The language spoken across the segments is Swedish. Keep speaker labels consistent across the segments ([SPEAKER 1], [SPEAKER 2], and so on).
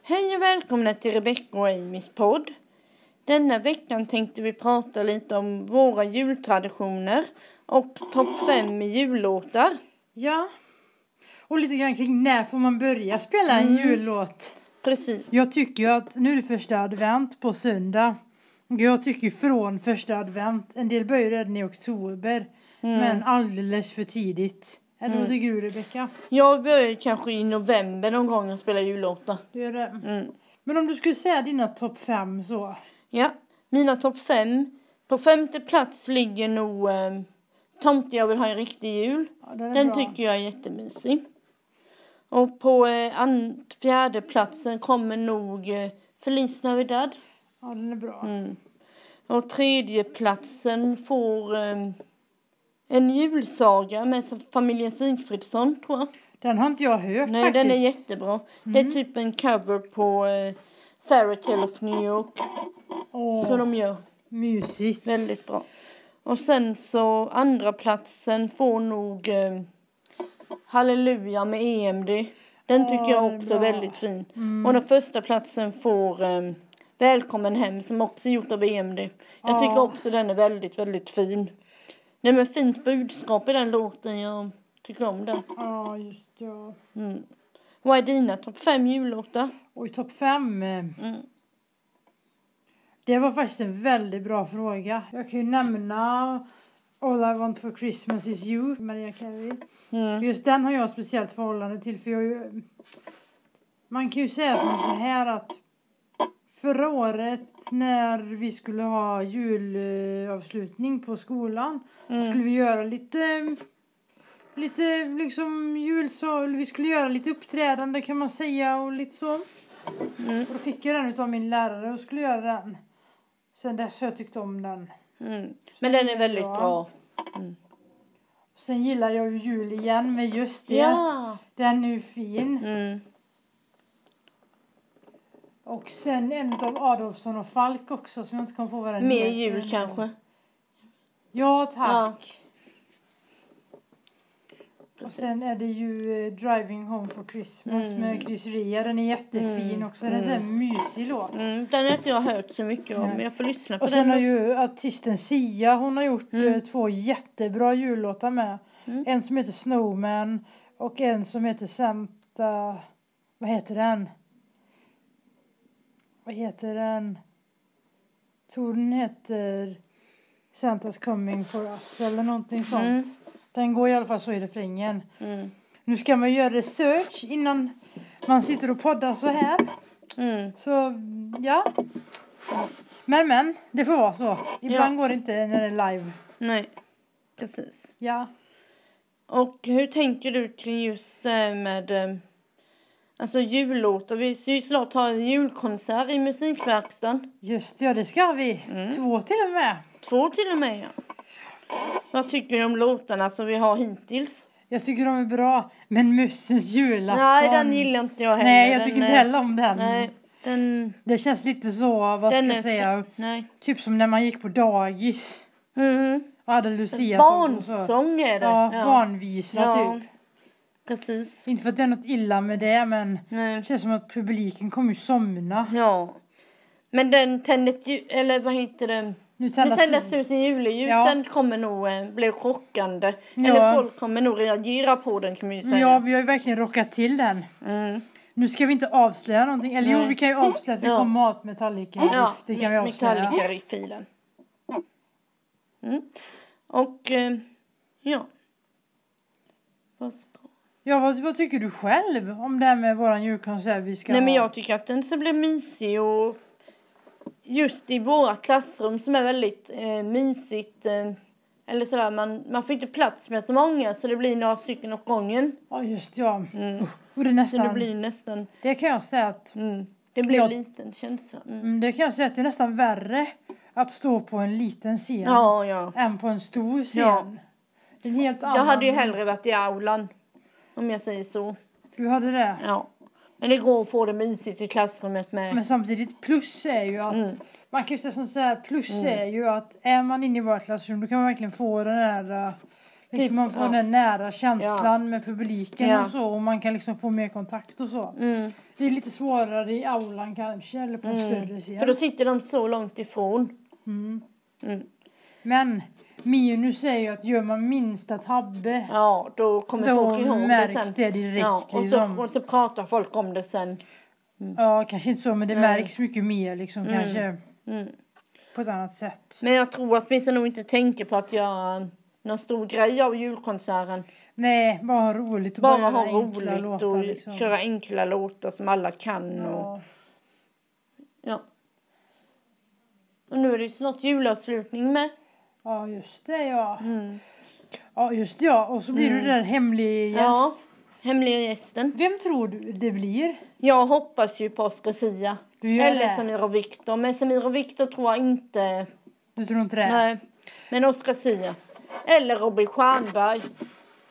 [SPEAKER 1] Hej och välkomna till Rebecca och Amys podd. Denna veckan tänkte vi prata lite om våra jultraditioner och topp fem med jullåtar.
[SPEAKER 2] Ja. Och lite grann kring när får man börja spela en
[SPEAKER 1] Mm.
[SPEAKER 2] jullåt?
[SPEAKER 1] Precis.
[SPEAKER 2] Jag tycker ju att nu är det första advent på söndag. Och Jag tycker från första advent. En del börjar ju redan i oktober.
[SPEAKER 1] Mm.
[SPEAKER 2] Men alldeles för tidigt. Eller vad tycker du Rebecka?
[SPEAKER 1] Jag börjar kanske i november någon gång och spela jullåtar.
[SPEAKER 2] Du gör det.
[SPEAKER 1] Mm.
[SPEAKER 2] Men om du skulle säga dina topp fem så.
[SPEAKER 1] Ja, mina topp fem. På femte plats ligger nog eh, Tomte jag vill ha en riktig jul.
[SPEAKER 2] Ja, den är
[SPEAKER 1] Den
[SPEAKER 2] bra.
[SPEAKER 1] tycker jag är jättemysig. Och på eh, an- fjärde platsen kommer nog eh, Feliz Navidad.
[SPEAKER 2] Ja, den är bra.
[SPEAKER 1] Mm. Och tredjeplatsen får ehm, en julsaga med familjen Sigfridsson, tror jag.
[SPEAKER 2] Den har inte jag hört
[SPEAKER 1] Nej,
[SPEAKER 2] faktiskt.
[SPEAKER 1] den är jättebra. Det är typ en cover på eh, Fairy Tale of New York,
[SPEAKER 2] Åh,
[SPEAKER 1] så de gör
[SPEAKER 2] mysigt.
[SPEAKER 1] väldigt bra. Och sen så andra platsen får nog ehm, Halleluja med EMD. Den
[SPEAKER 2] Åh,
[SPEAKER 1] tycker jag
[SPEAKER 2] den är
[SPEAKER 1] också är
[SPEAKER 2] bra.
[SPEAKER 1] väldigt fin.
[SPEAKER 2] Mm.
[SPEAKER 1] Och den första platsen får ehm, Välkommen hem som också är gjort av EMD. Jag
[SPEAKER 2] Ja.
[SPEAKER 1] tycker också den är väldigt, väldigt fin. Det är med fint budskap i den låten. Jag tycker om den.
[SPEAKER 2] Ja, just det. Ja.
[SPEAKER 1] Mm. Vad är dina topp fem jullåtar?
[SPEAKER 2] Och i topp fem. eh,
[SPEAKER 1] Mm.
[SPEAKER 2] Det var faktiskt en väldigt bra fråga. Jag kan ju nämna All I Want For Christmas Is You, Maria Carey.
[SPEAKER 1] Mm.
[SPEAKER 2] Just den har jag ett speciellt förhållande till för jag är ju... Man kan ju säga som så här att förra året när vi skulle ha julavslutning på skolan
[SPEAKER 1] Mm.
[SPEAKER 2] så skulle vi göra lite lite liksom julsal, vi skulle göra lite uppträdande kan man säga och lite så.
[SPEAKER 1] Mm.
[SPEAKER 2] Och då fick jag den utav min lärare och skulle göra den. Sen dess har jag tyckt om den.
[SPEAKER 1] Mm. Men den är väldigt
[SPEAKER 2] Ja.
[SPEAKER 1] bra.
[SPEAKER 2] Sen gillar jag ju jul igen med just det.
[SPEAKER 1] Ja!
[SPEAKER 2] Den är ju fin.
[SPEAKER 1] Mm.
[SPEAKER 2] Och sen en utav Adolfsson och Falk också som jag inte kom på vad den
[SPEAKER 1] Mer
[SPEAKER 2] heter.
[SPEAKER 1] jul kanske.
[SPEAKER 2] Ja, tack. Och sen är det ju eh, Driving Home for Christmas
[SPEAKER 1] Mm.
[SPEAKER 2] med Chris Ria. Den är jättefin
[SPEAKER 1] Mm.
[SPEAKER 2] också. Den är så här mysig låt.
[SPEAKER 1] Mm. Den har inte jag hört så mycket om,
[SPEAKER 2] Nej.
[SPEAKER 1] men jag får lyssna på
[SPEAKER 2] Och sen har
[SPEAKER 1] den.
[SPEAKER 2] ju artisten Sia, hon har gjort
[SPEAKER 1] Mm.
[SPEAKER 2] eh, två jättebra jullåtar med.
[SPEAKER 1] Mm.
[SPEAKER 2] En som heter Snowman och en som heter Santa... Vad heter den? Vad heter den? Tror den heter Santa's coming for us eller någonting sånt.
[SPEAKER 1] Mm.
[SPEAKER 2] Den går i alla fall så i refrängen.
[SPEAKER 1] Mm.
[SPEAKER 2] Nu ska man göra research innan man sitter och poddar så här.
[SPEAKER 1] Mm.
[SPEAKER 2] Så ja. Men men, det får vara så. Ibland
[SPEAKER 1] Ja.
[SPEAKER 2] går det inte när det är live.
[SPEAKER 1] Nej, precis.
[SPEAKER 2] Ja.
[SPEAKER 1] Och hur tänker du kring just det med eh, alltså jullåtar? Vi ska ju snart ha en julkonsert i musikverkstaden.
[SPEAKER 2] Just det, ja, det ska vi.
[SPEAKER 1] Mm.
[SPEAKER 2] Två till och med.
[SPEAKER 1] Två till och med. ja. Vad tycker du om låtarna som vi har hittills?
[SPEAKER 2] Jag tycker de är bra. Men Mussens julafton.
[SPEAKER 1] Nej, den gillar inte jag heller.
[SPEAKER 2] Nej, jag
[SPEAKER 1] Den
[SPEAKER 2] tycker inte
[SPEAKER 1] är-
[SPEAKER 2] heller om den.
[SPEAKER 1] Nej, den...
[SPEAKER 2] Det känns lite så, vad
[SPEAKER 1] den
[SPEAKER 2] ska
[SPEAKER 1] är-
[SPEAKER 2] jag säga,
[SPEAKER 1] Nej.
[SPEAKER 2] typ som när man gick på dagis.
[SPEAKER 1] Mm.
[SPEAKER 2] Och hade Lucia.
[SPEAKER 1] Barnsång är det.
[SPEAKER 2] Ja, barnvisa
[SPEAKER 1] Ja,
[SPEAKER 2] typ.
[SPEAKER 1] Precis.
[SPEAKER 2] Inte för att det är något illa med det, men
[SPEAKER 1] Nej.
[SPEAKER 2] det känns som att publiken kommer ju somna.
[SPEAKER 1] Ja. Men den tändet ju... Eller vad heter den?
[SPEAKER 2] Nu
[SPEAKER 1] Nu
[SPEAKER 2] tändas,
[SPEAKER 1] tändas tusen juleljus.
[SPEAKER 2] Ja.
[SPEAKER 1] Den kommer nog eh, bli chockande.
[SPEAKER 2] Ja.
[SPEAKER 1] Eller folk kommer nog reagera på den kan man ju säga.
[SPEAKER 2] Ja, vi har ju verkligen rockat till den.
[SPEAKER 1] Mm.
[SPEAKER 2] Nu ska vi inte avslöja någonting. Eller
[SPEAKER 1] Nej.
[SPEAKER 2] jo, vi kan ju avslöja att vi
[SPEAKER 1] Ja.
[SPEAKER 2] kommer ha ett Metallica
[SPEAKER 1] Ja,
[SPEAKER 2] Det kan vi avslöja.
[SPEAKER 1] Metallica-filen. Mm. Och eh, ja. Vad ska...
[SPEAKER 2] Ja, vad, vad tycker du själv om det här med våran julkonsert vi ska
[SPEAKER 1] Nej men
[SPEAKER 2] ha?
[SPEAKER 1] jag tycker att den ska bli mysig och just i våra klassrum som är väldigt eh, mysigt. Eh, eller sådär, man, man får inte plats med så många så det blir några stycken åt gången.
[SPEAKER 2] Ja, just ja.
[SPEAKER 1] Mm.
[SPEAKER 2] Och det, är
[SPEAKER 1] Så det
[SPEAKER 2] nästan,
[SPEAKER 1] blir nästan
[SPEAKER 2] det kan jag säga att
[SPEAKER 1] Mm. Det blir
[SPEAKER 2] Ja.
[SPEAKER 1] en liten känsla. Mm.
[SPEAKER 2] mm, det kan jag säga att det är nästan värre att stå på en liten scen
[SPEAKER 1] Ja, ja.
[SPEAKER 2] än på en stor scen.
[SPEAKER 1] Ja.
[SPEAKER 2] Det är En helt annan.
[SPEAKER 1] Jag hade ju hellre varit i aulan, om jag säger så.
[SPEAKER 2] Du hade det.
[SPEAKER 1] Ja. Men det går att få det mysigt i klassrummet med.
[SPEAKER 2] Men samtidigt plus är ju att
[SPEAKER 1] Mm.
[SPEAKER 2] man kan ju säga som så här, plus är ju att är man inne i vårt klassrum då kan man verkligen få den här eh, Liksom man får
[SPEAKER 1] Typ, ja.
[SPEAKER 2] den nära känslan med publiken
[SPEAKER 1] Ja.
[SPEAKER 2] och så och man kan liksom få mer kontakt och så.
[SPEAKER 1] Mm.
[SPEAKER 2] Det är lite svårare i aulan kanske eller på en större scen.
[SPEAKER 1] För då sitter de så långt ifrån.
[SPEAKER 2] Mm.
[SPEAKER 1] Mm.
[SPEAKER 2] Men minus säger ju att gör man minsta tabbe
[SPEAKER 1] Ja, då kommer
[SPEAKER 2] då
[SPEAKER 1] folk ihåg det
[SPEAKER 2] märks
[SPEAKER 1] sen.
[SPEAKER 2] det direkt.
[SPEAKER 1] ja, och,
[SPEAKER 2] liksom.
[SPEAKER 1] så, och så pratar folk om det sen.
[SPEAKER 2] Ja, kanske inte så men det
[SPEAKER 1] Nej.
[SPEAKER 2] märks mycket mer liksom
[SPEAKER 1] Mm.
[SPEAKER 2] kanske
[SPEAKER 1] Mm.
[SPEAKER 2] på ett annat sätt.
[SPEAKER 1] Men jag tror att vissa nog inte tänker på att göra någon stor grej av julkonserten.
[SPEAKER 2] Nej, bara ha roligt och
[SPEAKER 1] Bara
[SPEAKER 2] göra
[SPEAKER 1] ha
[SPEAKER 2] enkla
[SPEAKER 1] roligt
[SPEAKER 2] låtar,
[SPEAKER 1] och
[SPEAKER 2] liksom.
[SPEAKER 1] köra enkla låtar som alla kan. Och,
[SPEAKER 2] Ja.
[SPEAKER 1] ja. och nu är det ju snart julavslutning med.
[SPEAKER 2] ja, just det ja.
[SPEAKER 1] Mm.
[SPEAKER 2] Ja, just det ja. Och så blir du
[SPEAKER 1] Mm.
[SPEAKER 2] där hemlig gäst.
[SPEAKER 1] Ja, hemliga gästen.
[SPEAKER 2] Vem tror du det blir?
[SPEAKER 1] Jag hoppas ju på Oscar Sia.
[SPEAKER 2] Du gör
[SPEAKER 1] Eller
[SPEAKER 2] det?
[SPEAKER 1] Samir och Viktor. Men Samir och Viktor tror jag inte.
[SPEAKER 2] Du tror inte det?
[SPEAKER 1] Nej. Men Oscar Sia. Eller Robin Stjernberg.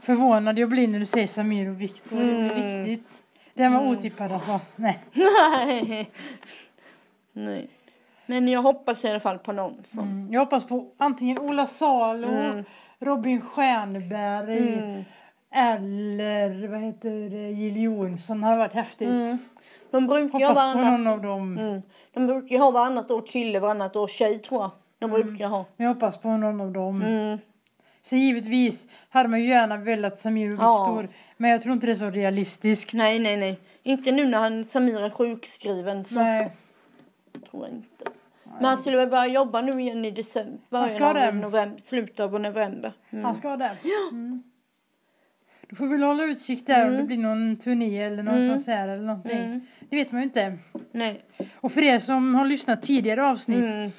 [SPEAKER 2] Förvånad jag blir när du säger Samir och Viktor. Det blir
[SPEAKER 1] Mm.
[SPEAKER 2] viktigt. Det var otippad alltså. Nej.
[SPEAKER 1] Nej. Nej. Men jag hoppas i alla fall på någon som...
[SPEAKER 2] Mm. Jag hoppas på antingen Ola Salo,
[SPEAKER 1] Mm.
[SPEAKER 2] Robin Stjernberg
[SPEAKER 1] Mm.
[SPEAKER 2] eller vad heter det, Jill Johnson. Det hade varit häftigt.
[SPEAKER 1] Mm. De brukar ju ha
[SPEAKER 2] Hoppas på
[SPEAKER 1] varannat...
[SPEAKER 2] någon av dem.
[SPEAKER 1] Mm. De brukar ju ha varannat år kille, varannat år tjej tror jag. De
[SPEAKER 2] Mm.
[SPEAKER 1] brukar ha.
[SPEAKER 2] Men jag hoppas på någon av dem.
[SPEAKER 1] Mm.
[SPEAKER 2] Så givetvis hade man ju gärna velat Samir och
[SPEAKER 1] Ja.
[SPEAKER 2] Viktor. Men jag tror inte det är så realistiskt.
[SPEAKER 1] Nej, nej, nej. Inte nu när han, Samir är sjukskriven. Så Mm.
[SPEAKER 2] Nej.
[SPEAKER 1] tror jag inte. Men han skulle väl börja jobba nu igen i december.
[SPEAKER 2] Han ska
[SPEAKER 1] början av
[SPEAKER 2] det.
[SPEAKER 1] november, slutet av november. Mm.
[SPEAKER 2] Han ska det. Mm. Du får väl hålla utkik där om det blir någon turné eller någon
[SPEAKER 1] Mm.
[SPEAKER 2] konsert eller någonting.
[SPEAKER 1] Mm.
[SPEAKER 2] Det vet man ju inte.
[SPEAKER 1] Nej.
[SPEAKER 2] Och för er som har lyssnat tidigare avsnitt
[SPEAKER 1] Mm.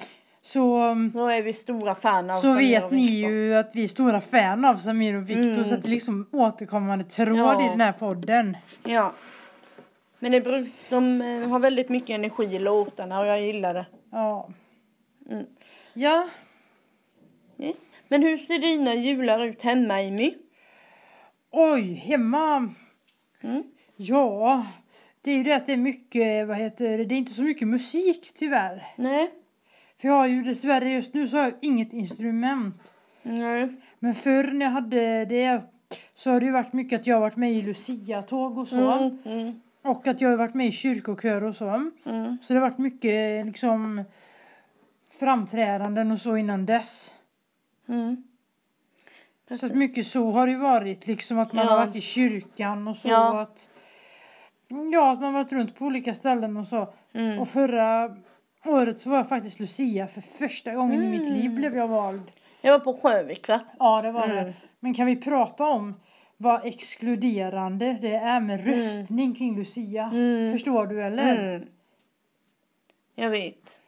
[SPEAKER 2] så,
[SPEAKER 1] Då är vi stora fan av
[SPEAKER 2] så
[SPEAKER 1] Samir
[SPEAKER 2] vet
[SPEAKER 1] och
[SPEAKER 2] ni
[SPEAKER 1] Viktor.
[SPEAKER 2] ju att vi är stora fan av Samir och Viktor
[SPEAKER 1] Mm.
[SPEAKER 2] så att det är liksom återkommande tråd
[SPEAKER 1] Ja.
[SPEAKER 2] i den här podden.
[SPEAKER 1] Ja. Men det bru- de eh, har väldigt mycket energi i låtarna och jag gillar det.
[SPEAKER 2] Ja.
[SPEAKER 1] Mm.
[SPEAKER 2] Ja,
[SPEAKER 1] Yes. Men hur ser dina jular ut hemma, Amy?
[SPEAKER 2] oj, hemma.
[SPEAKER 1] Mm.
[SPEAKER 2] Ja, det är ju det att det är mycket, vad heter det, det är inte så mycket musik tyvärr.
[SPEAKER 1] Nej.
[SPEAKER 2] För jag har ju dessvärre just nu så har jag inget instrument.
[SPEAKER 1] Nej.
[SPEAKER 2] Men förr när jag hade det så har det ju varit mycket att jag har varit med i Lucia-tåg och så.
[SPEAKER 1] Mm, mm,
[SPEAKER 2] Och att jag har varit med i kyrkokör och så.
[SPEAKER 1] mm.
[SPEAKER 2] Så det har varit mycket liksom framträdanden och så innan dess.
[SPEAKER 1] mm.
[SPEAKER 2] Så att
[SPEAKER 1] Precis.
[SPEAKER 2] mycket så har det ju varit liksom att man
[SPEAKER 1] Ja.
[SPEAKER 2] har varit i kyrkan och så.
[SPEAKER 1] Ja.
[SPEAKER 2] Att, ja, att man har varit runt på olika ställen och så.
[SPEAKER 1] Mm.
[SPEAKER 2] Och förra året så var jag faktiskt Lucia för första gången i mitt liv blev jag vald.
[SPEAKER 1] Jag var på Sjövik, va?
[SPEAKER 2] Ja, det var
[SPEAKER 1] Mm.
[SPEAKER 2] det. Men kan vi prata om vad exkluderande det är med röstning kring Lucia?
[SPEAKER 1] Mm.
[SPEAKER 2] Förstår du eller?
[SPEAKER 1] Mm. Jag vet.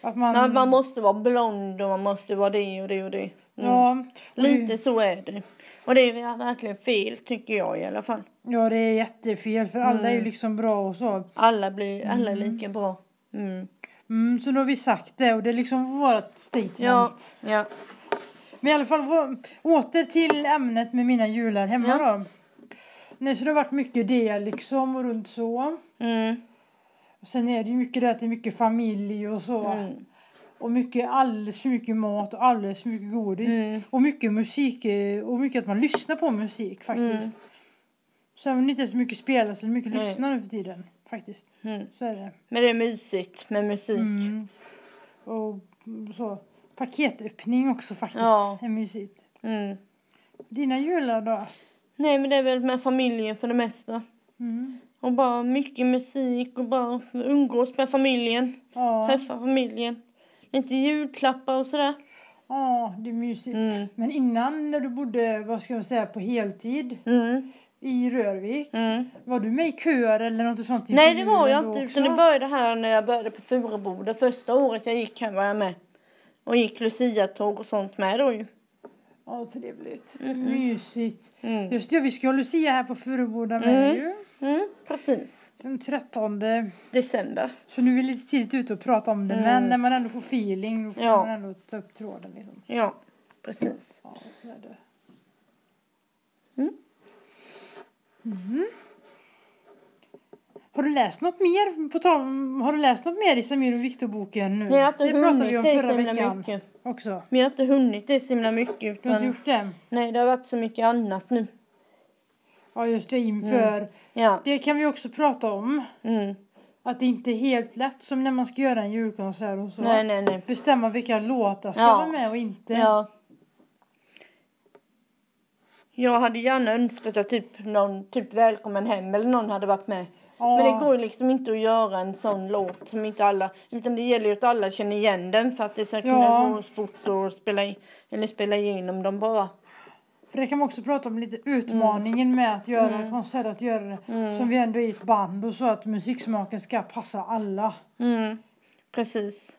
[SPEAKER 2] Att man,
[SPEAKER 1] Man, man måste vara blond och man måste vara det och det och det. Mm.
[SPEAKER 2] ja, och det-
[SPEAKER 1] Lite så är det. Och det är verkligen fel, tycker jag i alla fall.
[SPEAKER 2] ja, det är jättefel för alla
[SPEAKER 1] Mm.
[SPEAKER 2] är ju liksom bra och så.
[SPEAKER 1] Alla, blir, alla är lika bra. Mm.
[SPEAKER 2] Mm, så nu har vi sagt det och det är liksom vårt statement.
[SPEAKER 1] Ja, ja.
[SPEAKER 2] Men i alla fall vå- åter till ämnet med mina jular hemma
[SPEAKER 1] Ja.
[SPEAKER 2] då. Nej, så det har varit mycket det liksom och runt så.
[SPEAKER 1] Mm.
[SPEAKER 2] Och sen är det ju mycket det att det är mycket familj och så.
[SPEAKER 1] Mm.
[SPEAKER 2] Och mycket, alldeles för mycket mat och alldeles för mycket godis.
[SPEAKER 1] Mm.
[SPEAKER 2] Och mycket musik eh, och mycket att man lyssnar på musik faktiskt.
[SPEAKER 1] Mm.
[SPEAKER 2] Så även om det inte är så mycket spel, så mycket
[SPEAKER 1] Nej.
[SPEAKER 2] lyssnar nu för tiden. Faktiskt.
[SPEAKER 1] Mm.
[SPEAKER 2] Så är det.
[SPEAKER 1] Men det är mysigt med musik.
[SPEAKER 2] Mm. Och så. Paketöppning också faktiskt.
[SPEAKER 1] Ja.
[SPEAKER 2] Är mysigt.
[SPEAKER 1] Mm.
[SPEAKER 2] Dina jular då?
[SPEAKER 1] Nej, men det är väl med familjen för det mesta.
[SPEAKER 2] Mm.
[SPEAKER 1] Och bara mycket musik och bara umgås med familjen.
[SPEAKER 2] Ja.
[SPEAKER 1] Träffa familjen. Lite julklappar och sådär.
[SPEAKER 2] ja, det är mysigt.
[SPEAKER 1] Mm.
[SPEAKER 2] Men innan när du bodde, vad ska man säga, på heltid
[SPEAKER 1] Mm.
[SPEAKER 2] i Rörvik.
[SPEAKER 1] Mm.
[SPEAKER 2] Var du med i köer eller något sånt? inför
[SPEAKER 1] Nej, det var jag
[SPEAKER 2] julen då
[SPEAKER 1] inte.
[SPEAKER 2] också?
[SPEAKER 1] Utan det började här när jag började på Furuboda. Första året jag gick här var jag med. Och gick Lucia-tåg och sånt med då ju.
[SPEAKER 2] Ja, trevligt. Mysigt.
[SPEAKER 1] Mm.
[SPEAKER 2] Just det, vi ska ha Lucia här på Furuboda med
[SPEAKER 1] Mm.
[SPEAKER 2] ju.
[SPEAKER 1] Mm, precis.
[SPEAKER 2] Den 13.
[SPEAKER 1] December.
[SPEAKER 2] Så nu är vi lite tidigt ute och pratar om det.
[SPEAKER 1] Mm.
[SPEAKER 2] Men när man ändå får feeling då får
[SPEAKER 1] Ja.
[SPEAKER 2] man ändå ta upp tråden liksom.
[SPEAKER 1] Ja, precis.
[SPEAKER 2] Ja, så är det.
[SPEAKER 1] Mm.
[SPEAKER 2] Mhm. Mm. Har du läst något mer? På tal, om- har du läst något mer i Samir och Viktor-boken nu?
[SPEAKER 1] Nej, jag har inte
[SPEAKER 2] Mm. det pratade vi
[SPEAKER 1] hunnit
[SPEAKER 2] om
[SPEAKER 1] det så
[SPEAKER 2] förra
[SPEAKER 1] himla
[SPEAKER 2] veckan
[SPEAKER 1] mycket.
[SPEAKER 2] också.
[SPEAKER 1] Men jag har inte hunnit det så himla mycket.
[SPEAKER 2] Du har inte
[SPEAKER 1] Utan,
[SPEAKER 2] gjort det?
[SPEAKER 1] nej, det har varit så mycket annat nu.
[SPEAKER 2] Ja, just det, inför.
[SPEAKER 1] Mm. Ja.
[SPEAKER 2] Det kan vi också prata om.
[SPEAKER 1] Mm.
[SPEAKER 2] Att det inte är helt lätt som när man ska göra en julkonsert och så.
[SPEAKER 1] Nej, nej, nej.
[SPEAKER 2] Bestämma vilka låtar ska
[SPEAKER 1] Ja.
[SPEAKER 2] vara med och inte.
[SPEAKER 1] Ja. Jag hade gärna önskat att typ någon, typ Välkommen hem eller någon hade varit med.
[SPEAKER 2] Ja.
[SPEAKER 1] Men det går ju liksom inte att göra en sån låt som inte alla, utan det gäller ju att alla känner igen den för att det ska kunna
[SPEAKER 2] Ja.
[SPEAKER 1] gå fort och spela, i, eller spela igenom dem bara.
[SPEAKER 2] För det kan man också prata om lite
[SPEAKER 1] Mm.
[SPEAKER 2] utmaningen med att göra en konsert. Att göra det som vi ändå är ett band och så att musiksmaken ska passa alla.
[SPEAKER 1] Mm, precis.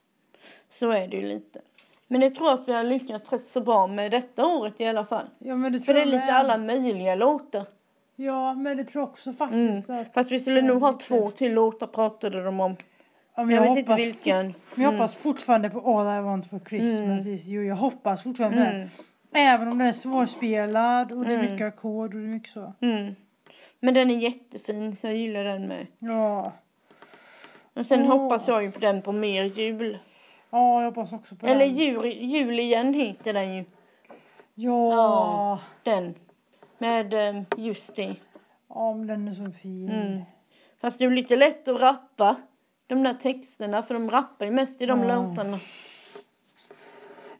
[SPEAKER 1] Så är det ju lite. Men jag tror att vi har lyckats rätt så bra med detta året i alla fall.
[SPEAKER 2] Ja, men det
[SPEAKER 1] För
[SPEAKER 2] tror
[SPEAKER 1] det är
[SPEAKER 2] jag
[SPEAKER 1] lite
[SPEAKER 2] med.
[SPEAKER 1] alla möjliga låtar.
[SPEAKER 2] Ja, men det tror jag också
[SPEAKER 1] Mm.
[SPEAKER 2] faktiskt. Att,
[SPEAKER 1] Fast vi skulle nog ha två till låtar pratade de om.
[SPEAKER 2] ja, men
[SPEAKER 1] Men jag, vet inte
[SPEAKER 2] hoppas fort-
[SPEAKER 1] vilken. Mm.
[SPEAKER 2] Men jag hoppas fortfarande på All I Want For Christmas Is You. Jag hoppas fortfarande på
[SPEAKER 1] Mm.
[SPEAKER 2] det. Även om den är svårspelad och det är
[SPEAKER 1] Mm.
[SPEAKER 2] mycket ackord och det är mycket så.
[SPEAKER 1] Mm. Men den är jättefin så jag gillar den med.
[SPEAKER 2] Ja.
[SPEAKER 1] Och sen
[SPEAKER 2] Åh.
[SPEAKER 1] hoppas jag ju på den på mer jul.
[SPEAKER 2] Ja, jag hoppas också på
[SPEAKER 1] Eller
[SPEAKER 2] den.
[SPEAKER 1] jul, jul igen heter den ju.
[SPEAKER 2] Ja.
[SPEAKER 1] Ja.
[SPEAKER 2] ja.
[SPEAKER 1] Den. Med eh, just det.
[SPEAKER 2] men den är så fin.
[SPEAKER 1] Mm. Fast det är lite lätt att rappa de där texterna för de rappar ju mest i de
[SPEAKER 2] Ja.
[SPEAKER 1] låtarna.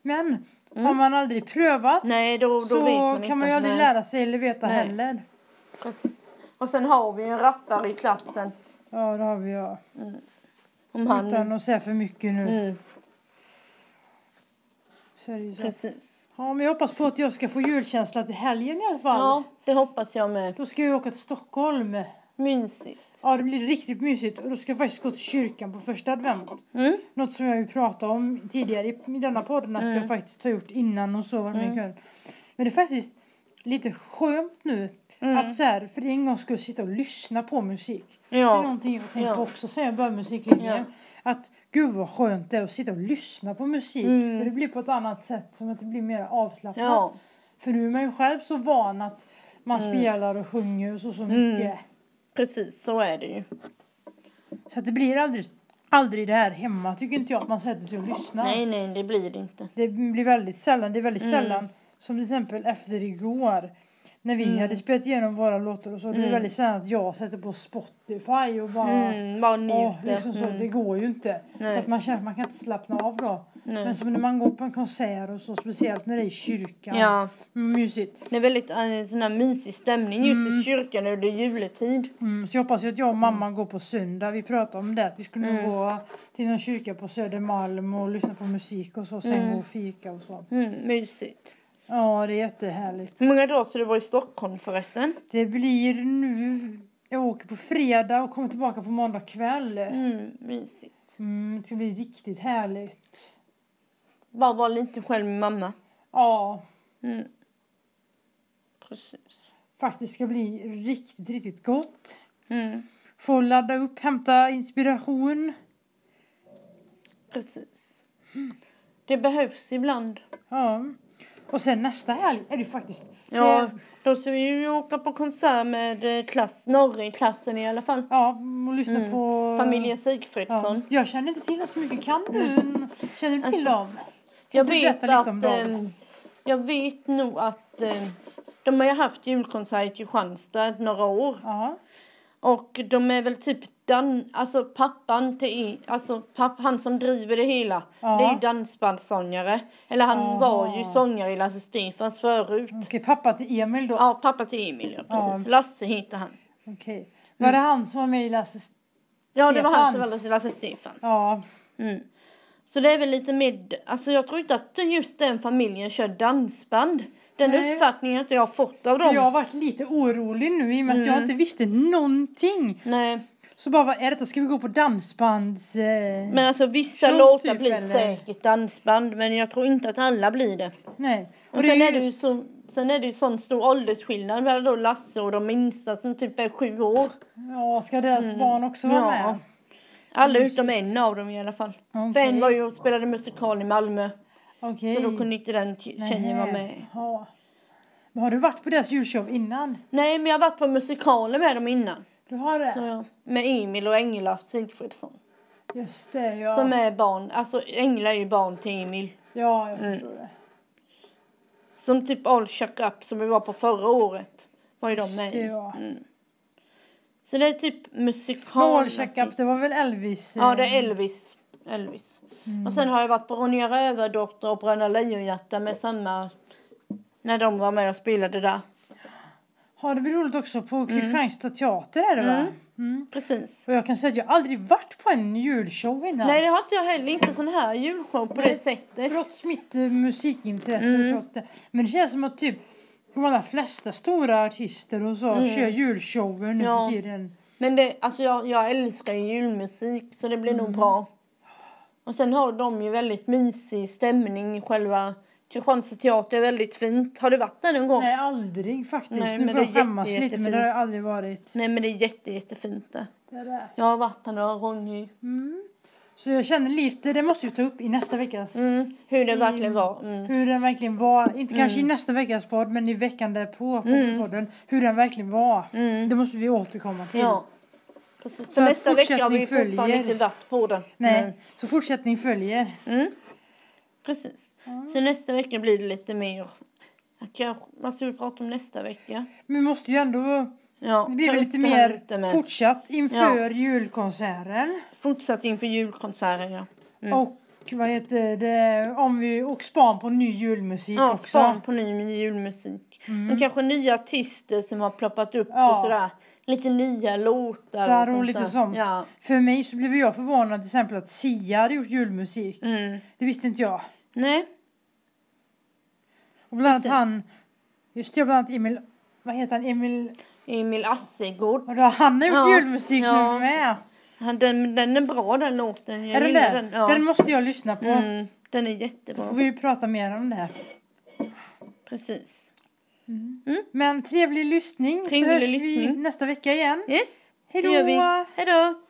[SPEAKER 2] Men
[SPEAKER 1] Mm.
[SPEAKER 2] har man aldrig prövat
[SPEAKER 1] Nej, då, då
[SPEAKER 2] så
[SPEAKER 1] vet man
[SPEAKER 2] kan
[SPEAKER 1] inte.
[SPEAKER 2] man ju aldrig
[SPEAKER 1] Nej,
[SPEAKER 2] lära sig eller veta
[SPEAKER 1] Nej.
[SPEAKER 2] heller.
[SPEAKER 1] Precis. Och sen har vi ju en rappare i klassen.
[SPEAKER 2] Ja, det har vi ja.
[SPEAKER 1] Om han...
[SPEAKER 2] Utan att säga för mycket nu.
[SPEAKER 1] Mm,
[SPEAKER 2] Så är det ju så.
[SPEAKER 1] precis.
[SPEAKER 2] Ja, men jag hoppas på att jag ska få julkänsla till helgen i alla fall.
[SPEAKER 1] Ja, det hoppas jag med.
[SPEAKER 2] Då ska jag åka till Stockholm.
[SPEAKER 1] Mysigt.
[SPEAKER 2] Ja, det blir riktigt mysigt. Och då ska jag faktiskt gå till kyrkan på första advent.
[SPEAKER 1] Mm.
[SPEAKER 2] Något som jag ju pratade om tidigare i i denna podden att
[SPEAKER 1] Mm.
[SPEAKER 2] jag faktiskt har gjort innan och så var med i kön. Men det är faktiskt lite skönt nu
[SPEAKER 1] Mm.
[SPEAKER 2] att så här, för en gång skulle sitta och lyssna på musik. Det är
[SPEAKER 1] Ja.
[SPEAKER 2] någonting jag har tänkt
[SPEAKER 1] Ja.
[SPEAKER 2] på också sen jag började musiklinjen. Att gud vad skönt det är att sitta och lyssna på musik.
[SPEAKER 1] Mm.
[SPEAKER 2] För det blir på ett annat sätt som att det blir mer avslappnat.
[SPEAKER 1] Ja. Mm.
[SPEAKER 2] För nu är man ju själv så van att man spelar och sjunger och så, så mycket.
[SPEAKER 1] Precis, så är det ju.
[SPEAKER 2] Så att det blir aldrig, aldrig det här hemma tycker inte jag att man sätter sig och lyssnar.
[SPEAKER 1] Nej, Mm. nej, det blir det inte.
[SPEAKER 2] Det blir väldigt sällan. Det är väldigt sällan. Som till exempel efter igår. När vi
[SPEAKER 1] Mm.
[SPEAKER 2] hade spelat igenom våra låtar och så. Det är väldigt sällan att jag sätter på Spotify och bara...
[SPEAKER 1] Mm, bara
[SPEAKER 2] Åh,
[SPEAKER 1] njuter.
[SPEAKER 2] liksom så, Det
[SPEAKER 1] mm.
[SPEAKER 2] går ju inte.
[SPEAKER 1] Nej.
[SPEAKER 2] För att man känner att man kan inte slappna av då.
[SPEAKER 1] Nej.
[SPEAKER 2] Men som när man går på en konsert och så. Speciellt när det är i kyrkan.
[SPEAKER 1] Ja,
[SPEAKER 2] Mm, Mysigt.
[SPEAKER 1] det är väldigt eh, sån här mysig stämning just i kyrkan nu. Det är juletid.
[SPEAKER 2] Mm, så jag hoppas ju att jag och mamma går på söndag. Vi pratade om det. Att vi skulle
[SPEAKER 1] Mm.
[SPEAKER 2] nog gå till någon kyrka på Södermalm och lyssna på musik och så. Sen gå och fika och så.
[SPEAKER 1] Mm, mysigt.
[SPEAKER 2] Ja, det är jättehärligt.
[SPEAKER 1] Hur många dagar ska du vara i Stockholm förresten?
[SPEAKER 2] Det blir nu... Jag åker på fredag och kommer tillbaka på måndag kväll.
[SPEAKER 1] Mm, mysigt.
[SPEAKER 2] Mm, det ska bli riktigt härligt.
[SPEAKER 1] Bara vara lite själv med mamma.
[SPEAKER 2] Ja,
[SPEAKER 1] Mm. Precis.
[SPEAKER 2] faktiskt ska bli riktigt, riktigt gott.
[SPEAKER 1] Mm.
[SPEAKER 2] Få ladda upp, hämta inspiration.
[SPEAKER 1] Precis. Det behövs ibland.
[SPEAKER 2] Ja. Och sen nästa helg är det faktiskt...
[SPEAKER 1] Ja,
[SPEAKER 2] Eh,
[SPEAKER 1] då ska vi ju åka på konsert med eh, klass, norra i klassen i alla fall.
[SPEAKER 2] ja, och lyssna
[SPEAKER 1] Mm.
[SPEAKER 2] på...
[SPEAKER 1] Familjen
[SPEAKER 2] ja.
[SPEAKER 1] Sigfridsson.
[SPEAKER 2] Jag känner inte till dem så mycket. Kan du? Känner du till
[SPEAKER 1] Alltså,
[SPEAKER 2] dem?
[SPEAKER 1] Jag
[SPEAKER 2] du
[SPEAKER 1] vet att...
[SPEAKER 2] berätta lite om dem?
[SPEAKER 1] ehm, jag vet nog att... ehm, de har ju haft julkonsert i Kristianstad några år.
[SPEAKER 2] Ja.
[SPEAKER 1] Och de är väl typ dan... Alltså pappan till... i- Alltså papp, han som driver det hela.
[SPEAKER 2] Ja.
[SPEAKER 1] Det är ju dansbandssångare. Eller han
[SPEAKER 2] Aha. Mm.
[SPEAKER 1] var ju sångare i Lasse Stefans förut.
[SPEAKER 2] Okej, pappa till Emil då.
[SPEAKER 1] Ja, pappa till Emil, ja, precis. Lasse heter han.
[SPEAKER 2] Okej. Var
[SPEAKER 1] Mm.
[SPEAKER 2] det han som var med i Lasses...
[SPEAKER 1] Ja, det var han som var
[SPEAKER 2] Stefans.
[SPEAKER 1] Lasse- Lasse Stefans.
[SPEAKER 2] Ja.
[SPEAKER 1] Så det är väl lite med... Alltså jag tror inte att just den familjen kör dansband. Den
[SPEAKER 2] Nej.
[SPEAKER 1] uppfattningen har inte jag har fått av
[SPEAKER 2] För
[SPEAKER 1] dem. Mm.
[SPEAKER 2] jag har varit lite orolig nu i och med att jag inte visste någonting.
[SPEAKER 1] Nej,
[SPEAKER 2] Så bara, vad är detta? Ska vi gå på dansbands... Eh...
[SPEAKER 1] men alltså vissa
[SPEAKER 2] Show
[SPEAKER 1] låtar
[SPEAKER 2] typ,
[SPEAKER 1] blir
[SPEAKER 2] eller?
[SPEAKER 1] säkert dansband men jag tror inte att alla blir det.
[SPEAKER 2] Nej.
[SPEAKER 1] Och sen, är det ju så, sen är det ju sån stor åldersskillnad mellan då Lasse och de minsta som typ är sju år.
[SPEAKER 2] Ja, ska deras barn också vara
[SPEAKER 1] Mm. Ja.
[SPEAKER 2] med?
[SPEAKER 1] Alla utom en av dem i alla fall. För en
[SPEAKER 2] Okej.
[SPEAKER 1] var ju och spelade musikal i Malmö
[SPEAKER 2] Okej.
[SPEAKER 1] så då kunde inte den t- tjejen vara med.
[SPEAKER 2] Ja. Men har du varit på deras julshow innan?
[SPEAKER 1] Nej, men jag har varit på musikaler med dem innan.
[SPEAKER 2] Du har det?
[SPEAKER 1] Så, ja. Med Emil och Engla Sigfridsson.
[SPEAKER 2] Just det, ja.
[SPEAKER 1] Som är barn. Alltså Engla är ju barn till Emil.
[SPEAKER 2] Ja,
[SPEAKER 1] Mm.
[SPEAKER 2] jag förstår det.
[SPEAKER 1] Som typ All Shack Up som vi var på förra året. Var ju de med i.
[SPEAKER 2] Ja.
[SPEAKER 1] Mm. Så det är typ musikal.
[SPEAKER 2] Paul Checkup, det var väl Elvis?
[SPEAKER 1] Ja, det
[SPEAKER 2] eh,
[SPEAKER 1] är Elvis. Elvis. Och sen har jag varit på Ronja Rövardotter och Bröderna Lejonhjärta med samma... När de var med och spelade där.
[SPEAKER 2] Ja, det blir roligt också på Kristianstad teater är det va?
[SPEAKER 1] Mm.
[SPEAKER 2] Mm.
[SPEAKER 1] Precis.
[SPEAKER 2] Och jag kan säga att jag aldrig varit på en julshow innan.
[SPEAKER 1] Nej, det har inte jag heller. Inte sån här julshow på det
[SPEAKER 2] Nej,
[SPEAKER 1] sättet.
[SPEAKER 2] Trots mitt eh, musikintresse.
[SPEAKER 1] Mm.
[SPEAKER 2] och Trots det. Men det känns som att typ de allra flesta stora artister och så
[SPEAKER 1] Mm.
[SPEAKER 2] kör julshower nu
[SPEAKER 1] Ja.
[SPEAKER 2] för tiden.
[SPEAKER 1] Men det, alltså jag, jag älskar ju julmusik så det blir nog
[SPEAKER 2] Mm.
[SPEAKER 1] bra. Och sen har de ju väldigt mysig stämning i själva Kristianstad teater är väldigt fint. Har du varit där någon gång? Nej,
[SPEAKER 2] Nej, aldrig faktiskt.
[SPEAKER 1] Nej,
[SPEAKER 2] nu
[SPEAKER 1] men
[SPEAKER 2] får
[SPEAKER 1] det
[SPEAKER 2] jag
[SPEAKER 1] är
[SPEAKER 2] skämmas
[SPEAKER 1] jätte-
[SPEAKER 2] lite, men det har jag aldrig varit.
[SPEAKER 1] men det är jätte, jättefint där.
[SPEAKER 2] Det är det.
[SPEAKER 1] Jag har varit där några gånger.
[SPEAKER 2] Mm. Så jag känner lite, det måste vi ta upp i nästa veckas.
[SPEAKER 1] Mm, hur det
[SPEAKER 2] I-
[SPEAKER 1] verkligen var. Mm.
[SPEAKER 2] Hur den verkligen var, inte kanske i nästa veckas podd men i veckan därpå på podden. Hur den verkligen var.
[SPEAKER 1] Mm.
[SPEAKER 2] Det måste vi återkomma till.
[SPEAKER 1] Ja. Precis. Så
[SPEAKER 2] att
[SPEAKER 1] nästa vecka har vi
[SPEAKER 2] fortsättning
[SPEAKER 1] fortfarande
[SPEAKER 2] följer.
[SPEAKER 1] inte varit på den. Mm,
[SPEAKER 2] Nej,
[SPEAKER 1] Men-
[SPEAKER 2] så fortsättning följer.
[SPEAKER 1] Mm. Precis. Så nästa vecka blir det lite mer. Jag kanske- Vad ska vi prata om nästa vecka?
[SPEAKER 2] Men vi måste ju ändå
[SPEAKER 1] Ja,
[SPEAKER 2] Det blir
[SPEAKER 1] ta
[SPEAKER 2] väl
[SPEAKER 1] upp
[SPEAKER 2] lite
[SPEAKER 1] det här
[SPEAKER 2] mer fortsatt inför julkonserten.
[SPEAKER 1] Fortsatt inför julkonserten, ja. Mm.
[SPEAKER 2] Och vad heter det, om vi, och span på ny julmusik
[SPEAKER 1] Ja,
[SPEAKER 2] också. Mm.
[SPEAKER 1] span på ny julmusik. Men kanske nya artister som har ploppat upp och
[SPEAKER 2] Ja.
[SPEAKER 1] sådär. Lite nya låtar
[SPEAKER 2] Där
[SPEAKER 1] och sånt
[SPEAKER 2] och lite
[SPEAKER 1] där.
[SPEAKER 2] sånt.
[SPEAKER 1] Ja.
[SPEAKER 2] För mig så blev jag förvånad till exempel att Sia hade gjort julmusik.
[SPEAKER 1] Mm.
[SPEAKER 2] Det visste inte jag.
[SPEAKER 1] Nej,
[SPEAKER 2] Och bland annat
[SPEAKER 1] Precis.
[SPEAKER 2] han, just det, bland annat Emil, vad heter han, Emil,
[SPEAKER 1] Emil Assegård.
[SPEAKER 2] vadå, han har gjort
[SPEAKER 1] Ja,
[SPEAKER 2] julmusik
[SPEAKER 1] ja.
[SPEAKER 2] nu med.
[SPEAKER 1] Han- Den, den är bra den låten. Jag
[SPEAKER 2] är den
[SPEAKER 1] gillar
[SPEAKER 2] där?
[SPEAKER 1] den.
[SPEAKER 2] Den,
[SPEAKER 1] Ja.
[SPEAKER 2] måste jag lyssna på.
[SPEAKER 1] mm, den är
[SPEAKER 2] Så
[SPEAKER 1] jättebra.
[SPEAKER 2] får vi prata mer om det här.
[SPEAKER 1] Precis.
[SPEAKER 2] Men trevlig lyssning.
[SPEAKER 1] Trevlig
[SPEAKER 2] så hörs vi
[SPEAKER 1] lyssning.
[SPEAKER 2] nästa vecka igen.
[SPEAKER 1] Yes,
[SPEAKER 2] Hej
[SPEAKER 1] det gör
[SPEAKER 2] då.
[SPEAKER 1] vi. Hej då!